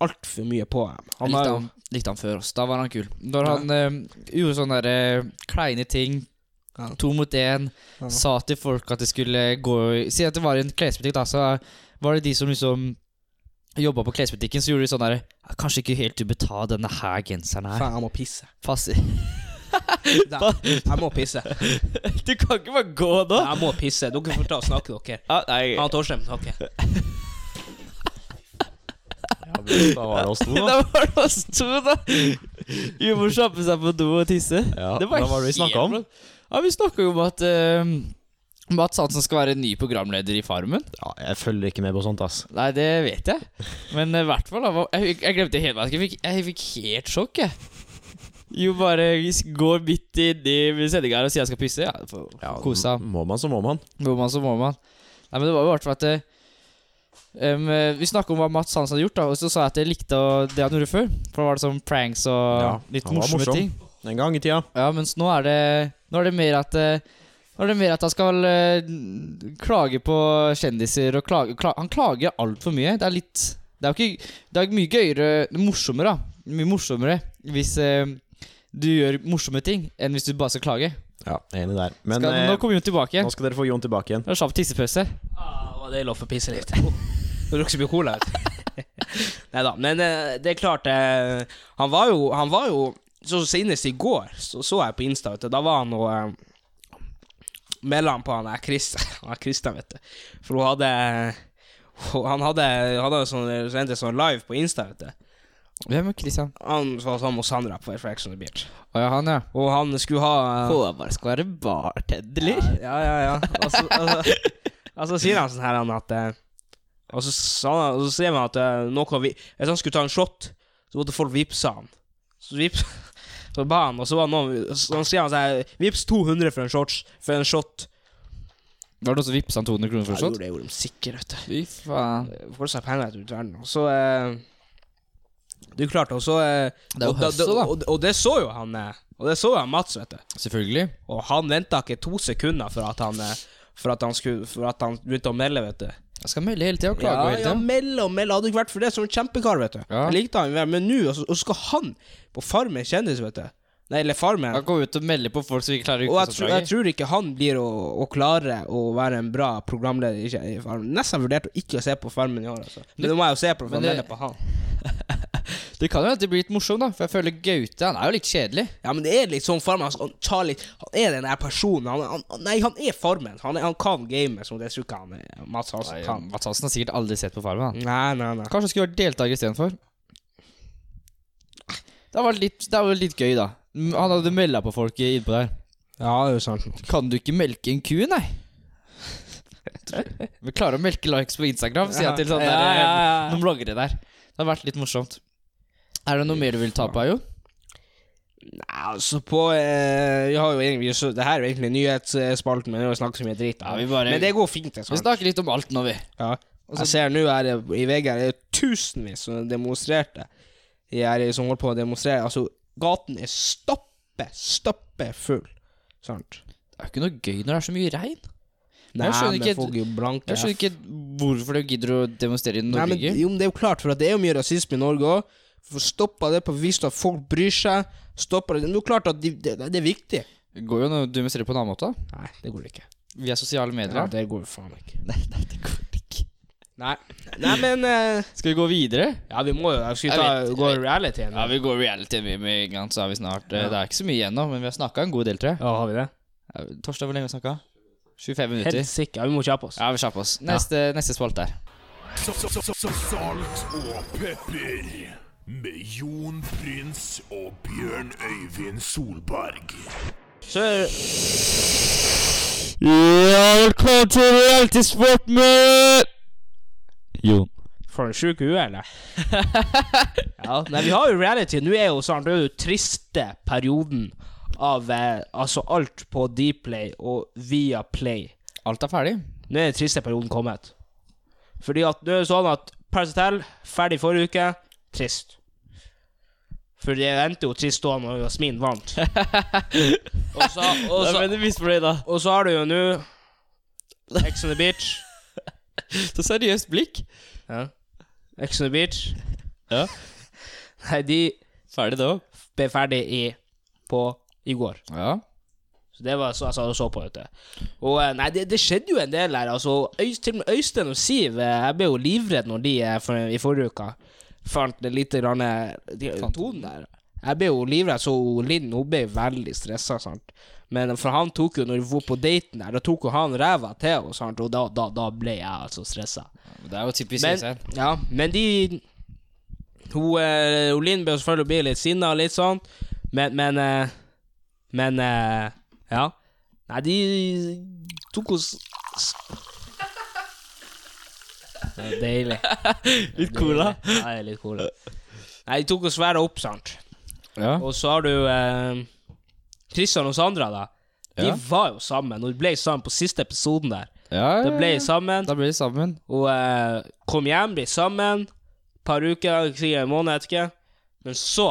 S3: Altfor mye på dem.
S2: Jeg
S3: Han har
S2: likte
S3: jo
S2: han, likte han før også. Da var han kul. Når han eh, gjorde sånne der, eh, kleine ting,
S3: Ja.
S2: to mot én,
S3: Ja.
S2: sa til folk at de skulle gå i- Si at det var i en klesbutikk, da, så var det de som liksom jobba på klesbutikken, så gjorde de sånn derre Kanskje ikke helt du bør ta denne her genseren her.
S3: Faen, jeg må
S2: (laughs)
S3: pisse.
S2: Fast.
S3: Der, Jeg må pisse.
S2: Du kan ikke bare gå nå!
S3: Jeg må pisse. Dere får ta og snakke, dere.
S2: Ja, nei.
S3: Han Torstein snakker.
S4: Da var det oss to, (laughs) da.
S2: Da var det oss to, da. Vi må kjappe seg på do og tisse.
S4: Ja, hva var det vi snakket om?
S2: helt rått. Ja, Vi snakka jo om at eh, Mats Hansen skal være ny programleder i Farmen.
S4: Ja, jeg følger ikke med på sånt, ass.
S2: Nei, det vet jeg. Men eh, i hvert fall da, hva- jeg, fikk- jeg glemte helt hva jeg fikk. Jeg fikk helt sjokk, jeg. Jo, bare s- går midt inni sendinga her og sier jeg skal pisse. Ja, for,
S4: Ja,
S2: Kose seg.
S4: m- Må man, så må man.
S2: Må man, så må man. Nei, men det var jo i hvert fall at eh, em, eh, Vi snakka om hva Mats Hansen hadde gjort, da og så sa jeg at jeg likte å- det han gjorde før. For da var det sånn pranks og
S4: Ja,
S2: litt
S4: han var
S2: morsomme
S4: morsom.
S2: ting.
S4: En gang i tida.
S2: Ja, mens nå er det Nå er det mer at eh, Nå er det mer at han skal eh, klage på kjendiser og klage kla, Han klager altfor mye. Det er litt Det er jo ikke Det er mye gøyere Morsommere, da. Mye morsommere hvis eh, du gjør morsomme ting enn hvis du bare skal klage.
S4: Ja, enig der. Men
S2: Skal,
S4: eh,
S2: nå kommer Jon tilbake igjen.
S4: nå skal dere få Jon tilbake igjen.
S2: Det er kjapp tissepause.
S3: Ah, var det lov å pisse litt? Oh. Du drukket så mye cola. (laughs) Nei da. Men eh, det er klart eh, Han var jo, han var jo så Senest i går så, så jeg på Insta, vet du. Da var han og eh, Melder han på han der Chris- (laughs) han er Christian, vet du. For hun hadde Han hadde, hadde jo sånn, sendte sånn live på Insta, vet du.
S2: Hvem er Christian?
S3: Han var sammen med Sandra på Ex on the Beach.
S2: Å ja, han, ja.
S3: Og han skulle ha
S2: Håvard skal være bartender,
S3: Ja, ja, ja. Og så, og så, og så sier han sånn her han at eh, Og så sa han Og så sier han at eh, noe vi, Hvis han skulle ta en shot, så måtte folk vippse han. Så vips, (laughs) Så ba han, og så var det noen Så han sier han sånn her Vips 200 for en shot. For en shot.
S2: Var det noen som vippsa han 200 kroner for en
S3: Ja, det
S2: shot?
S3: gjorde- det gjorde de sikkert, vet du.
S2: Fy faen.
S3: Folk sa penger ut i verden. Og så eh, Det er jo klart, og så eh,
S2: Det er jo
S3: og, da-
S2: høstet, da.
S3: Og, og det så jo han eh, Og det så jo han Mats, vet du.
S2: Selvfølgelig.
S3: Og han venta ikke to sekunder for at han eh, For at han, skulle, for at han begynte å melde, vet du.
S2: Jeg skal melde hele tida og klage hele
S3: ja,
S2: tida.
S3: melde og melde. Hadde ikke vært for det, som en kjempekar, vet du.
S2: Ja.
S3: Jeg likte han, men nå altså, og så- og så skal han på Farmen kjendis, vet du. Nei, eller Farmen.
S2: Han går ut og melder på folk som ikke klarer
S3: Og jeg, tror- jeg
S2: ukesoppdraget.
S3: tror ikke han blir å, å klare å være en bra programleder i kje- i Farmen. Nesten vurdert å ikke se på Farmen i år, altså. Men nå må jeg jo se på for å
S2: Men det-
S3: melde på han.
S2: Det kan jo hende det blir litt morsomt, da. For jeg føler Gaute Han er jo litt kjedelig.
S3: Ja, men det er litt sånn Farmen. altså, Han, tar litt, han er den der personen. Han, han, nei, han er Farmen. Han, er- han kan gamet, som det tror ikke han er. Mats Hansen
S2: Nei,
S3: kan.
S2: Mats Hansen har sikkert aldri sett på Farmen. Han.
S3: Nei, nei, nei.
S2: Kanskje han skulle vært deltaker istedenfor. Det var litt, det var litt gøy, da. Mm, Han hadde melda på folk innpå der.
S5: Ja, det er jo sant.
S2: Kan du ikke melke en ku, nei? Vi klarer å melke likes på Instagram, sier jeg til sånne
S3: Ja,
S2: der,
S3: ja, ja.
S2: noen bloggere der. Det har vært litt morsomt. Er det noe mer du vil ta på, Ayo?
S5: Nei, altså på eh, Vi har jo egentlig så, Det her er jo egentlig nyhetsspalten, men det er jo snakk så mye dritt.
S2: Ja, vi bare-
S5: Men det går fint. Det, er
S2: Vi Altså-
S5: sant.
S2: snakker litt om alt nå, vi.
S5: Ja. Jeg ser nå her eh, i VG her er det tusenvis som demonstrerte. De her som holder på å demonstrere. Altså, gaten er stappe, stappe full. Sant?
S2: Det er jo ikke noe gøy når det er så mye regn.
S5: Nei,
S2: skjønner
S5: men
S2: ikke-
S5: folk er jo blanke.
S2: Jeg skjønner ikke hvorfor du gidder å demonstrere i
S5: Nei, men,
S2: Norge.
S5: jo, men det er jo klart, for at det er jo mye rasisme i Norge òg. Stoppa det på vis at folk bryr seg. Stoppa det Det er jo klart at de, det, det er viktig.
S2: Det går jo når du demonstrerer på en annen måte.
S5: Nei, det går ikke.
S2: Via sosiale medier.
S5: Ja, det går jo faen ikke.
S2: (laughs) Nei, nei, det går ikke.
S5: Nei, Nei men eh,
S2: Skal vi gå videre?
S5: Ja, vi må jo Skal vi
S2: Jeg
S5: ta,
S2: vet, jeg
S5: gå reality igjen?
S2: Ja, vi går reality med- med en gang, så er vi snart eh, Det er ikke så mye igjen nå, men vi har snakka en god del, tror jeg.
S5: Ja, har vi det?
S2: Ja, Torstein, hvor lenge har vi snakka? 25 minutter.
S3: Helt sikker. Ja, vi må kjappe oss.
S2: Ja, vi kjapp oss. Neste, neste spalte her.
S1: Sa- sa- sa- sa- Salt og pepper med Jon Prins og Bjørn Øyvind Solberg.
S3: Så er det
S2: Ja, velkommen til reality-sport med Jon.
S3: For en sjuk hue,
S2: (laughs)
S3: eller? ja, nei, vi har jo reality. Nå er jo sånn, det er jo triste perioden av eh, altså alt på Dplay og via Play.
S2: Alt er ferdig.
S3: Nå er den triste perioden kommet. Fordi at nå er det sånn at Paris Hotel, ferdig forrige uke, trist. For det endte jo trist da når Jasmin
S2: (laughs)
S3: vant. og, så, og, så,
S2: du misfornøyd, da.
S3: og så har du jo nå Ex on the Beach.
S2: (laughs) Så seriøst blikk.
S3: Ja. Ex on the Beach.
S2: Ja.
S3: Nei, de
S2: Ferdig, det òg.
S3: ble ferdig i, på, i går.
S2: Ja.
S3: Så det var så altså, jeg satt og så på, vet du. Og eh, nei, det, det skjedde jo en del her. Altså, Øy- til og med Øystein og Siv eh, Jeg ble jo livredd når de eh, for, i forrige uke fant det lite grann eh, de,
S2: Fant
S3: tonen der. Jeg ble jo livredd, så Linn hun ble veldig stressa. sant? Men eh, for han tok jo, når vi var på daten der, da tok jo han ræva til oss, sant? og da, da, da ble jeg altså stressa.
S2: Det er jo typisk
S3: Men,
S2: Øystein.
S3: ja, men de Hun, eh, hun Linn ble selvfølgelig bli litt sinna og litt sånn, men Men, eh, men eh, ja. Nei, de tok oss s- Det er (laughs) deilig.
S2: Litt cola.
S3: Ja, det er litt cola. Nei, de tok oss svære opp, sant.
S2: Ja.
S3: Og så har du eh, Christian og Sandra, da. De
S2: Ja.
S3: var jo sammen, og de ble sammen på siste episoden der.
S2: ja,
S3: De
S2: ja,
S3: ble
S2: ja.
S3: sammen.
S2: Da blir vi sammen.
S3: Og eh, kom hjem, ble sammen. Par uker, sikkert en måned, jeg vet ikke. Men så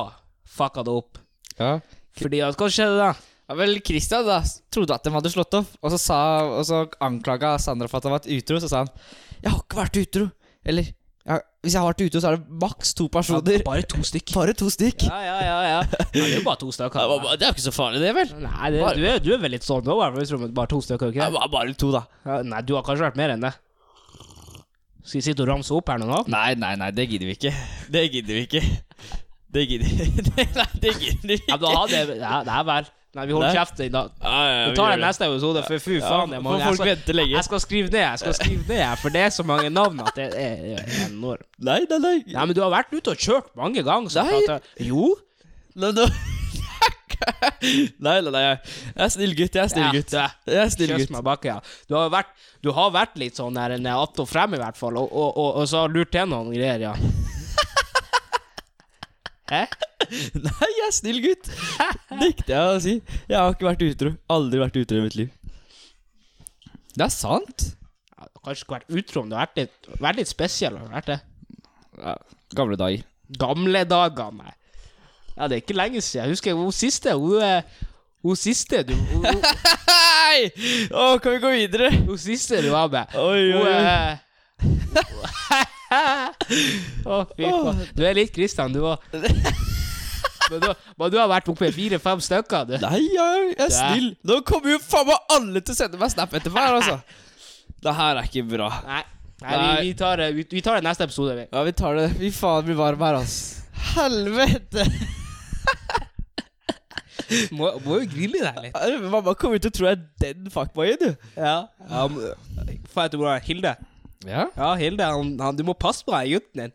S3: fucka det opp.
S2: Ja.
S3: Fordi at, hva skjedde da?
S2: Ja, vel, Christian da trodde at de hadde slått opp, og så, sa, og så anklaga Sandra for at han var utro. Så sa han 'Jeg har ikke vært utro'. Eller ja, 'Hvis jeg har vært utro, så er det maks to personer'.
S3: bare to stykk.
S2: Bare to stykk.
S3: Ja, ja, ja. ja. ja det er jo bare to stykker.
S2: Det var bare- det er jo ikke så farlig, det, vel?
S3: Nei, det, du, er, du er vel litt sånn nå, i hvert fall, hvis du er bare to stykker,
S2: Det
S3: ikke
S2: var bare to, da.
S3: Ja, Nei, du har kanskje vært mer enn det. Skal vi sitte og ramse opp her nå? nå?
S2: Nei, nei, nei, det gidder vi ikke. (laughs) Det gidder vi ikke. Det gidder (laughs) Nei, det gidder vi
S3: Ja,
S2: ikke.
S3: men da hadde jeg Ja, det er vel Nei, vi holder
S2: Nei.
S3: kjeft i dag.
S2: Ja, ja,
S3: Vi tar
S2: gjør
S3: det neste episode, for fy
S2: Ja,
S3: faen. det er mange.
S2: for folk
S3: jeg,
S2: venter
S3: skal,
S2: lenge.
S3: jeg skal skrive ned, jeg skal skrive ned, jeg, for det er så mange navn at det er er enormt.
S2: Nei, nei, nei.
S3: Nei, men du har vært ute og kjørt mange ganger. Så
S2: Nei.
S3: Nei. Jo.
S2: Nei, nå- nei, (laughs) nei, nei. Jeg er snill gutt. Jeg er snill
S3: Ja,
S2: gutt.
S3: du er-
S2: Jeg er snill
S3: Kjøss
S2: gutt.
S3: meg bak, ja. Du har vært, du har vært litt sånn der en att og frem, i hvert fall. Og, og, og, og så har lurt til noen greier, ja. Hæ?
S2: Nei, jeg er snill gutt. Nekter jeg å si. Jeg har ikke vært utro. Aldri vært utro i mitt liv. Det er sant.
S3: Ja, du har Kanskje ikke vært utro, men du har vært litt, vært litt spesiell. Har du vært det?
S2: Gamle dager.
S3: Gamle dager, nei. Ja, det er ikke lenge siden. Jeg husker hun siste, hun eh, hun siste du, hun, hun,
S2: Hei! Å, kan vi gå videre?
S3: hun siste du var med.
S2: Oi, oi,
S3: Hun
S2: oi.
S3: eh, (laughs) Å, fy faen. Du er litt Kristian, du (laughs) òg. Men, du- men du har vært oppe i fire-fem stykker, du.
S2: Nei, jeg jeg er
S3: Du er-
S2: snill. Nå kommer jo faen meg alle til å sende meg snap etterpå her, altså. Det her er ikke bra.
S3: Nei. Nei, Vi, vi, tar, det- vi, vi tar det neste episode. Vi.
S2: Ja, vi tar det. Vi faen blir varm her, altså. Helvete! (laughs)
S3: Må, må jo grille deg litt.
S2: Mamma kommer til å tro jeg er den fuckboyen, du.
S3: Ja. ja men- Faen, vet du hvordan Hilde
S2: Ja?
S3: Ja, Hilde, han, han, du må passe på den gutten din.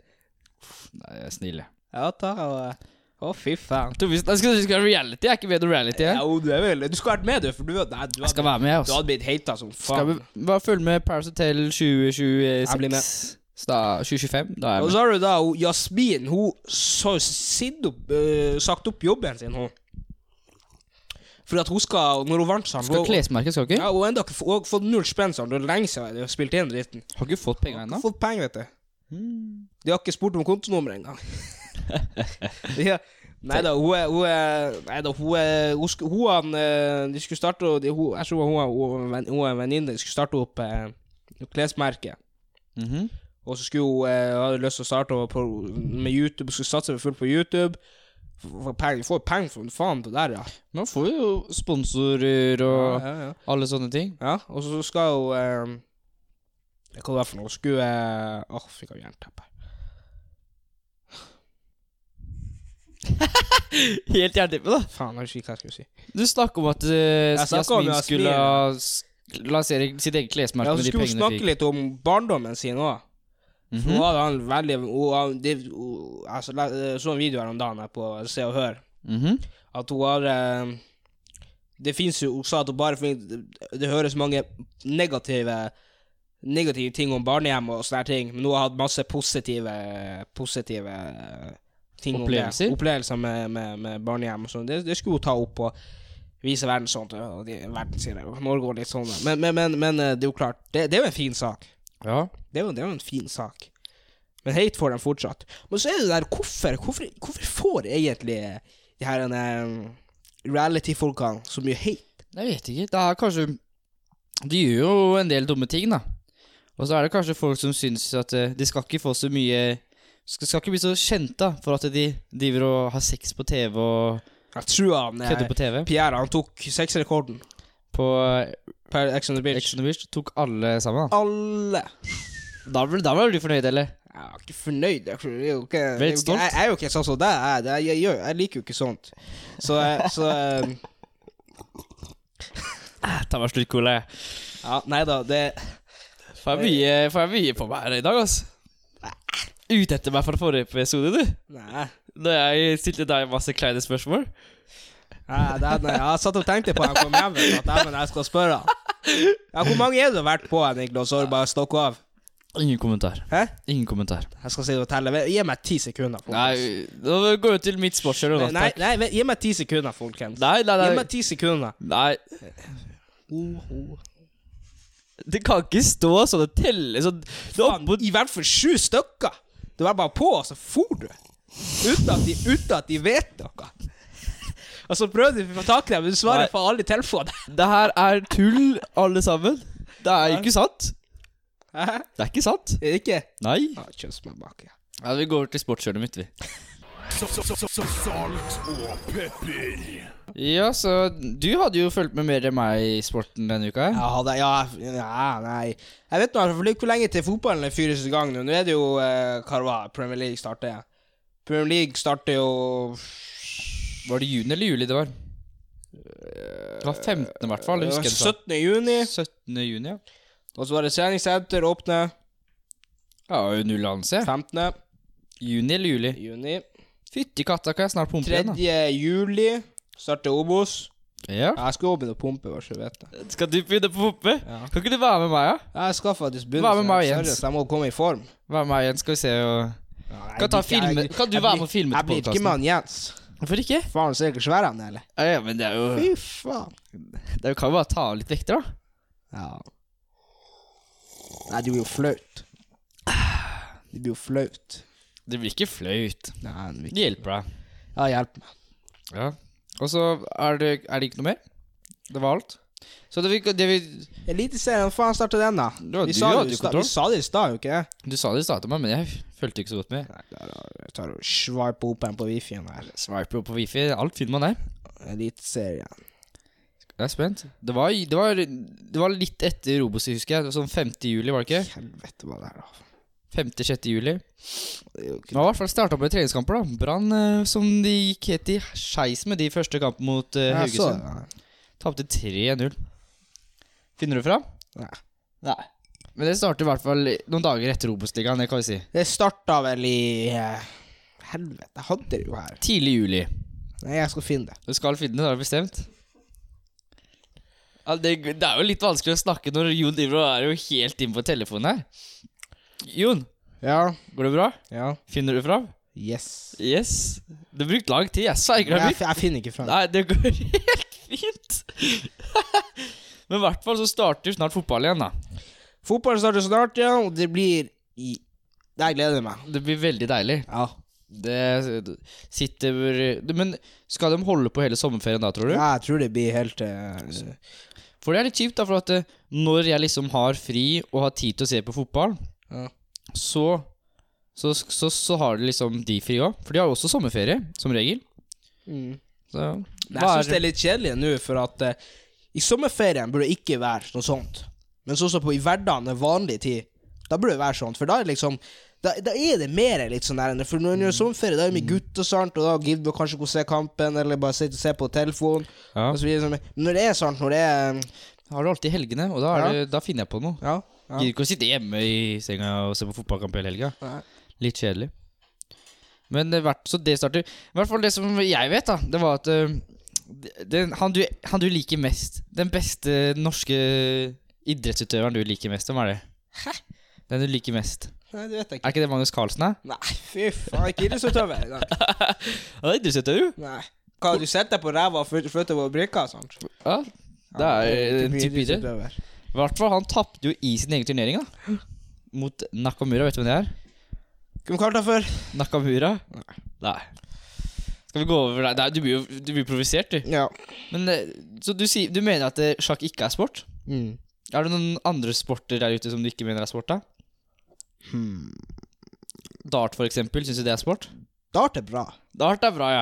S2: Nei, jeg er snill, jeg.
S3: Ja, ta og eh, Å, fy faen.
S2: Tror vi- Nei, Skal du skal være reality? Jeg er ikke med i noe reality. Jeg,
S3: Ja, jo, du er vel Du skulle vært med, du. For du, nei, du,
S2: jeg
S3: hadde,
S2: skal være med, jeg,
S3: du
S2: altså.
S3: hadde blitt hata som
S2: Skal vi
S3: faen.
S2: bare følge med Paris Hotel 2026?
S3: Jeg blir med.
S2: Så Da, 2025? Da er
S3: Og
S2: jeg med.
S3: så har du da hun, Jasmin. Hun har sitt opp, øh, sagt opp jobben sin, hun. For at hun skal Når hun vant sammen
S2: Skal klesmerket, skal du ikke?
S3: Ja, hun har enda ikke f- hun har fått null spenn, sånn. Det er lenge siden de har spilt inn dritten.
S2: Har ikke fått penger
S3: Hun
S2: ennå.
S3: har fått penger, vet du. De har ikke spurt om kontonummeret engang. ja. Nei da, hun er, hun er Nei da, hun er Hun, sku- hun han, eh, De skulle starte og de, hun, Jeg tror hun, er- hun, er en venn- hun er en venninne. De skulle starte opp eh, et klesmerke.
S2: Mhm.
S3: Og så skulle hun eh, hadde lyst til å starte på, med YouTube, skulle satse fullt på YouTube. F- f- peng- Får penger for faen på det der, ja.
S2: Nå får vi jo sponsorer og
S3: ja, ja.
S2: alle sånne ting.
S3: Ja, og så skal hun eh, Hva var det for noe? Skulle eh, Åh, fikk jeg jernteppe.
S2: Helt jernteppe, da.
S3: Faen, jeg husker ikke hva jeg skulle si.
S2: Du snakker om at uh,
S3: snakker om
S2: Jasmin
S3: Jasmin,
S2: skulle ha s- lansere sitt eget klesmerke
S3: Ja, så
S2: med de
S3: skulle hun
S2: pengene hun
S3: snakke
S2: fikk. Mhm.
S3: litt om barndommen sin òg. For hun hadde han veldig hun, han- det, hun, altså, la- Jeg så en video her om dagen her på Se og Hør.
S2: Mhm.
S3: At hun har eh, Det fins jo Hun sa at hun bare fin- det, det høres mange negative Negative ting om barnehjem og sånne her ting, men hun har hatt masse positive Positive eh, ting
S2: Opplevelser?
S3: Om det. Opplevelser med, med, med barnehjem og sånn. Det, det skulle hun ta opp og vise verden sånn. Og de, verden sier det, og Norge og litt sånn. da. Men, men, men, men eh, det er jo klart, det, det er jo en fin sak.
S2: Ja.
S3: Det er jo, det er jo en fin sak. Men hate får de fortsatt. Men så er det der hvorfor Hvorfor, hvorfor får egentlig de her um, reality-folkene så mye hate?
S2: Jeg vet ikke. Det er kanskje De gjør jo en del dumme ting, da. Og så er det kanskje folk som syns at eh, de skal ikke få så mye Skal, skal ikke bli så kjente da, for at de driver og har sex på TV og
S3: Jeg tror han eh,
S2: kødder på TV.
S3: Pierre han tok sexrekorden
S2: På eh,
S3: per Ex on the Beach.
S2: Ex on the Beach tok alle sammen, da.
S3: Alle.
S2: Da ble, da ble du fornøyd, eller?
S3: Jeg er ikke fornøyd. Jeg, tror- det er jo ikke, det er jo
S2: Veldig
S3: ikke-
S2: stolt.
S3: jeg, jeg er jo ikke sånn som deg. Jeg, det- jeg, gjør- jeg liker jo ikke sånt. Så, eh, så eh,
S2: Ta meg slutt, Kole.
S3: Ja, nei da. Det
S2: Får jeg mye, får jeg mye på meg her i dag, altså. Ute etter meg fra forrige episode, du.
S3: Nei.
S2: Da jeg stilte deg masse kleine spørsmål.
S3: Nei, det, nei, jeg satt og tenkte på han kom hjem, vet du, at dæven, jeg skal spørre han. Ja, hvor mange er du har vært på, Henrik, og så har du bare stokket av?
S2: Ingen kommentar.
S3: Hæ?
S2: Ingen kommentar.
S3: Jeg skal si det og telle. Gi meg ti sekunder, folkens.
S2: Nei, da går vi til mitt sportskjøl.
S3: Nei, nei, nei, vent, gi meg ti sekunder, folkens.
S2: Nei, nei,
S3: Gi
S2: nei.
S3: meg ti sekunder.
S2: nei. Det kan ikke stå sånn og telle sånn det er
S3: Faen,
S2: oppå,
S3: I hvert fall sju stykker! Du var bare på, og så for du. Uten at de, uten at de vet noe. Og så prøvde vi å få tak i dem, men du
S2: Nei.
S3: svarer på alle telefoner.
S2: Det her er tull, alle sammen. Det er jo ikke sant.
S3: (laughs) Hæ?
S2: Det er ikke sant.
S3: Er det Ikke?
S2: Nei.
S3: Ah, Kjøss meg bak, ja.
S2: Ja, Vi går til sportskjølet mitt, vi.
S1: Så- så- så- så- Salt og pepper.
S2: Ja, så du hadde jo fulgt med mer enn meg i sporten denne uka. her.
S3: Ja, hadde, ja, f- ja, nei Jeg vet nå, i hvert fall ikke hvor lenge til fotballen er fyres i gang nå. Nå er det jo eh, hva det var, Premier League starter. Premier League starter jo
S2: Var det juni eller juli det var? Det var 15. i hvert fall. jeg husker jeg det sa.
S3: 17. juni.
S2: 17. juni, ja.
S3: Og så var det treningssenter åpne
S2: Ja, det var jo null anelse.
S3: 15.
S2: Juni eller juli?
S3: juni.
S2: Fytti katta, kan jeg snart pumpe
S3: 3.
S2: igjen, da.
S3: juli starter Obos.
S2: Ja.
S3: Jeg skal også begynne å pumpe, bare så du vet det.
S2: Skal du begynne på pumpe?
S3: Ja.
S2: Kan ikke du være med meg, da? Ja?
S3: Jeg skal faktisk begynne.
S2: Hva med
S3: så jeg-
S2: meg, Jens?
S3: seriøst, Jeg må komme i form.
S2: Være med meg igjen, skal vi se og
S3: Nei,
S2: Kan ta
S3: jeg blir ikke-
S2: filme-
S3: jeg-
S2: kan du
S3: jeg
S2: være
S3: blir-
S2: med og filme til
S3: Jeg blir ikke
S2: podcasten?
S3: med han Jens.
S2: Hvorfor ikke?
S3: Faen, ser du ikke svær han er, eller?
S2: Ja, ja, men det er jo
S3: Fy faen.
S2: Det er jo- kan jo bare ta av litt vekter, da.
S3: Ja. Nei, det blir jo flaut. Det blir jo flaut.
S2: Det blir ikke flaut.
S3: Nei, det blir
S2: Det hjelper deg.
S3: ikke- Ja, hjelp meg.
S2: Ja. Og så er det, er det ikke noe mer. Det var alt. Så det vi, det vi
S3: Eliteserien, faen starter den, da?
S2: Det var-
S3: vi,
S2: du
S3: sa
S2: hadde
S3: det,
S2: jo
S3: i sta-
S2: kontroll.
S3: vi sa det i stad, jo ikke?
S2: Du sa det i stad til meg, men jeg fulgte ikke så godt med.
S3: Jeg tar og swiper opp en på wifien her.
S2: Swiper opp på wifi. Alt finner man der.
S3: Eliteserien.
S2: Jeg er spent. Det var, det var, det var litt etter Robos, husker jeg. Det var Sånn 5. juli, var det ikke?
S3: Helvete, hva det er, da.
S2: 5.-6. juli.
S3: Det er jo ikke
S2: Det var i hvert fall starta med treningskamper, da. Brann eh, som de gikk helt i skeis med de første kampene mot eh,
S3: Jeg så
S2: Haugesund.
S3: det, da.
S2: Tapte 3-0. Finner du fram?
S3: Nei.
S2: Nei. Men det starter i hvert fall noen dager etter Obos-ligaen, det kan vi si.
S3: Det starta vel i eh, Helvete, jeg hadde det jo her.
S6: Tidlig juli.
S3: Nei, jeg skal finne det.
S6: Du skal finne det, har du bestemt? Ja, det, det er jo litt vanskelig å snakke når Jon driver og er jo helt inne på telefonen her. Jon,
S3: Ja.
S6: går det bra?
S3: Ja.
S6: Finner du fram?
S3: Yes.
S6: Yes. Du har brukt lang tid, jeg sverger.
S3: Men
S6: du har
S3: jeg, jeg finner ikke fram.
S6: Nei, det går (laughs) helt fint. (laughs) Men i hvert fall så starter jo snart fotball igjen, da.
S3: Fotball starter snart, ja, og det blir i Jeg gleder jeg meg.
S6: Det blir veldig deilig.
S3: Ja.
S6: Det sitter Men skal de holde på hele sommerferien da, tror du?
S3: ja jeg tror det blir helt eh,
S6: For det er litt kjipt, da, for at eh, når jeg liksom har fri og har tid til å se på fotball,
S3: Ja.
S6: så, så, så, så har de liksom de fri òg. For de har jo også sommerferie, som regel.
S3: mm.
S6: Så
S3: Nei,
S6: hva
S3: Jeg
S6: er-
S3: syns det er litt kjedelig nå, for at eh, i sommerferien burde det ikke være noe sånt. Men sånn som på i hverdagen, den vanlige tid, da burde det være sånn. For da er det liksom da, da er det mer litt sånn der For når
S6: Mm.
S3: det er sommerferie, da er det med gutt og sånt, og da gidder vi kanskje ikke å se kampen, eller bare sitte og se på telefonen.
S6: Ja.
S3: Og så videre. Men når det er sånt, når det er
S6: har du alltid helgene, og da, er
S3: Ja.
S6: det, da finner jeg på noe.
S3: Ja. ja.
S6: Gidder ikke å sitte hjemme i senga og se på fotballkamp hele helga.
S3: Nei.
S6: Litt kjedelig. Men det hvert, så det starter I hvert fall det som jeg vet, da, det var at øh, det- den, han, du, han du liker mest Den beste norske idrettsutøveren du liker mest, hvem er det? Hæ? Den du liker mest.
S3: Nei, det vet jeg ikke.
S6: Er ikke det Magnus Carlsen, da?
S3: Nei, fy faen, ikke idrettsutøver. Nei.
S6: Ja, det er idrettsutøver.
S3: Nei. Hva, du setter deg på ræva og flyt- flytter på brikka og sånt?
S6: Ja, Eh, det er
S3: ikke
S6: en
S3: mye
S6: type idrett.
S3: idrettsutøver.
S6: I hvert fall, han tapte jo i sin egen turnering, da. Mot Nakamura, vet du hvem det er?
S3: Kunne vi kalt deg for
S6: Nakamura? Nei. Skal vi gå over der? Nei, Du blir jo du blir provosert, du.
S3: Ja.
S6: Men eh, Så du, sier, du mener at eh, sjakk ikke er sport?
S3: Mm.
S6: Er det noen andre sporter der ute som du ikke mener er sport, da?
S3: Hmm.
S6: Dart, for eksempel. Syns du det er sport?
S3: Dart er bra.
S6: Dart er bra, ja.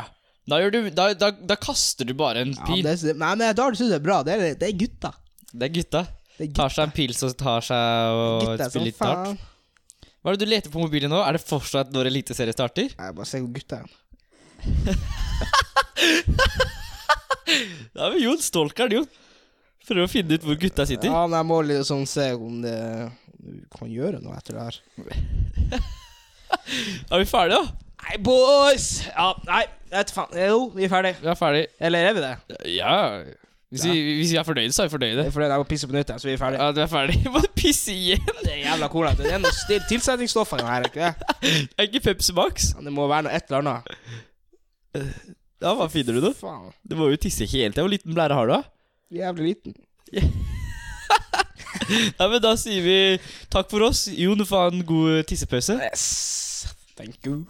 S6: Da, gjør du, da, da, da kaster du bare en
S3: Ja,
S6: pil.
S3: det, sy- nei, men Dart syns jeg er bra. Det er, det er gutta.
S6: det... er gutta.
S3: Det er gutta,
S6: Tar seg en pils og tar seg og
S3: gutta som
S6: spiller litt
S3: faen.
S6: dart. Hva er det du leter på mobilen nå? Er det fortsatt når Eliteserien starter?
S3: Nei, bare se hvor gutta er.
S6: Da er vi Jon Stolkeren, Jon. Prøver å finne ut hvor gutta sitter.
S3: Ja, men jeg må liksom se om det om du kan gjøre noe etter det her.
S6: Er vi ferdige, da?
S7: Nei, boys! Ja, nei, vet du faen. Jo, vi er ferdig.
S6: Vi er ferdige.
S7: Eller er vi det?
S6: Ja Hvis vi, hvis vi er fornøyde, så er vi fornøyde.
S7: Det er fordi jeg må pisse på nytt, så vi er ferdig.
S6: Ja, du er ferdig. (laughs) Må du pisse igjen?
S7: Det er jævla cola. Det er noe stil
S3: Tilsetningsstoffer er her, ikke det?
S6: Er ikke Pepsi Max?
S3: Ja, Det må være noe et eller annet.
S6: Ja, hva finner du da?
S3: Faen.
S6: Du må jo tisse hele tida. Hvor liten blære har du, da?
S3: Jævlig liten.
S6: Ja, men da sier vi takk for oss. Jon, du får ha en god tissepause.
S3: Yes. Thank you.